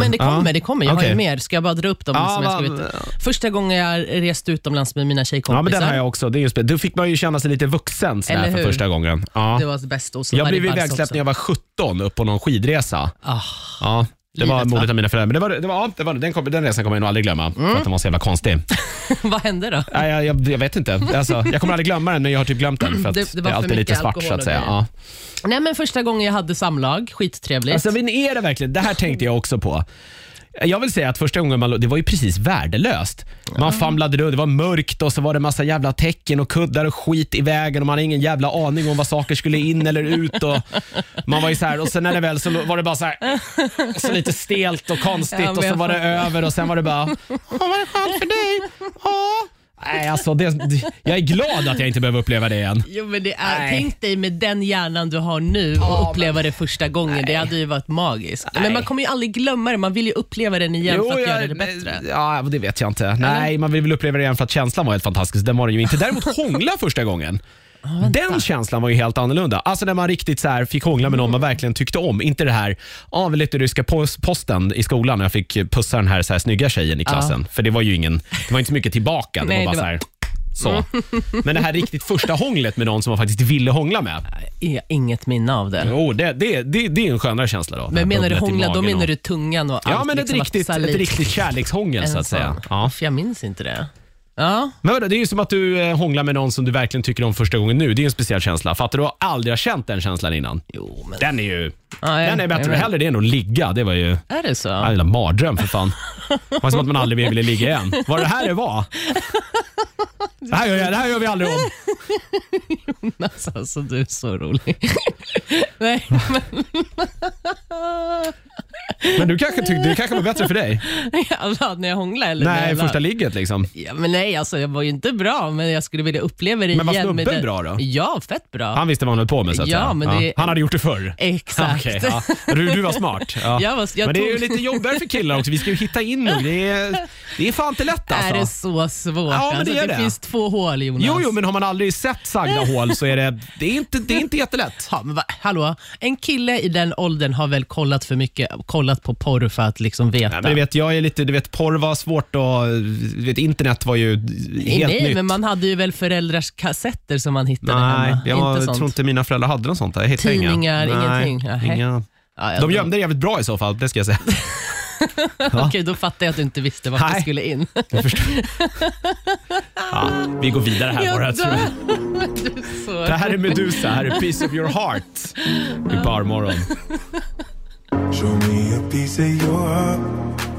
men det kommer. Det kommer. Jag har Okej. ju mer. Ska jag bara dra upp dem? Ja, som jag va- skrivit? Första gången jag reste utomlands med mina Ja, men tjejkompisar. den har jag också. Det är just, det. då fick man ju känna sig lite vuxen sådär Eller för hur? första gången. Ja. Det var det bästa. Och så Jag var det blev vals ivägsläppt också. när jag var 17 upp på någon skidresa. Ah, Ja, det var Livet, va? modigt av mina föräldrar. Men det var, det var, ja, det var, den, kom, den resan kommer jag nog aldrig glömma, Mm. för att den var så jävla konstig. vad hände då? Nej, jag, jag, jag vet inte. Alltså, jag kommer aldrig glömma den, men jag har typ glömt den. För att det, Det- det var är för alltid lite mycket svart så alkohol att och säga. grejer. Ja. Nej, men första gången jag hade samlag. Skittrevligt. Alltså, men är det verkligen? Det här tänkte jag också på. Jag vill säga att första gången man lo- det var ju precis värdelöst. Man famlade runt, det var mörkt och så var det massa jävla tecken och kuddar och skit i vägen och man hade ingen jävla aning om vad saker skulle in eller ut. Och man var ju så här, och sen när det väl så var det bara så här, och så lite stelt och konstigt Ja, men och så jag var det fattar. över och sen var det bara, "Ja, var det skönt för dig? Ja. Nej, alltså det, det- jag är glad att jag inte behöver uppleva det igen. Jo, men det är, Nej. tänk dig med den hjärnan du har nu och uppleva det första gången. Det hade ju varit magiskt. Nej. Men man kommer ju aldrig glömma det. Man vill ju uppleva den igen för att göra det bättre. eh, Ja, det vet jag inte. Nej, man vill väl uppleva det igen för att känslan var helt fantastisk. Den var den ju inte. Däremot hångla första gången. Den känslan var ju helt annorlunda. Alltså när man riktigt så här fick hångla med någon man verkligen tyckte om. Inte det här, ja, vi lite ryska pos- posten i skolan och jag fick pussa den här, så här snygga tjejen i klassen. För det var ju ingen, det var inte så mycket tillbaka. Det Nej, var bara det så här, så. Men det här riktigt första hånglet med någon som man faktiskt ville hångla med. Jag har inget minne av det. Jo, det, det, det, det är en skönare känsla då. Det här Men menar du bubblet i hångla, då magen menar och- du tungan och allt. Ja, men ett liksom, att Alltså. riktigt, salit- ett riktigt kärlekshångel så en att säga. sån. Ja. För jag minns inte det. Ja, Men vadå, det är ju som att du eh, hånglar med någon som du verkligen tycker om första gången nu. Det är ju en speciell känsla. Fattar du? Du har aldrig har känt den känslan innan. jo men. Den är ju... Ja, jag- den är bättre. jag- Hellre det än att ligga. Det var ju... Är det så? Ja. Jävla mardröm för fan. Det var som att man aldrig mer ville ligga igen. Var det här det var? Det här gör, jag, det här gör vi aldrig om. Jonas, alltså du är så rolig. Nej, Men du kanske tyckte det kanske var bättre för dig? jävlar, alltså, när jag hånglade eller? när Nej, jag la- första ligget liksom. Ja, men nej, alltså jag var ju inte bra, men jag skulle vilja uppleva det Men var igen. med snubben det- bra då? Ja, fett bra. Han visste vad han höll på med så att Ja, säga. men det- Han hade gjort det förr. Exakt. Okej, ja. du, du var smart. Ja. Jag var- jag men det är ju tog- lite jobbigare för killar också. Vi ska ju hitta in nu. Det är, det är fan inte lätt alltså. Är det så svårt? Ja, men alltså, det är det, det. finns två hål Jonas. Jo, jo, men har man aldrig sett sagda hål så är det, det, är inte, det är inte jättelätt. Ja, men va, hallå, en kille i den åldern har väl kollat för mycket, kollat på porr för att liksom veta. Nej, men du vet, jag är lite, du vet, porr var svårt och du vet, internet var ju helt Nej, nytt. men man hade ju väl föräldrars kassetter som man hittade Nej, hemma. jag inte sånt. tror inte mina föräldrar hade något sånt. Där. Jag hittade Tidningar, inga. Nej, ingenting. Nähä. Inga. Ja, ja, De då- gömde det jävligt bra i så fall, det ska jag säga. Okej, då fattar jag att du inte visste vart Nej. det skulle in. Jag förstår. Ja, vi går vidare här bara. jag tror jag. dör. Du är så... Det här är Medusa, här är Piece of your heart i Barmorgon. Show me a piece of your heart.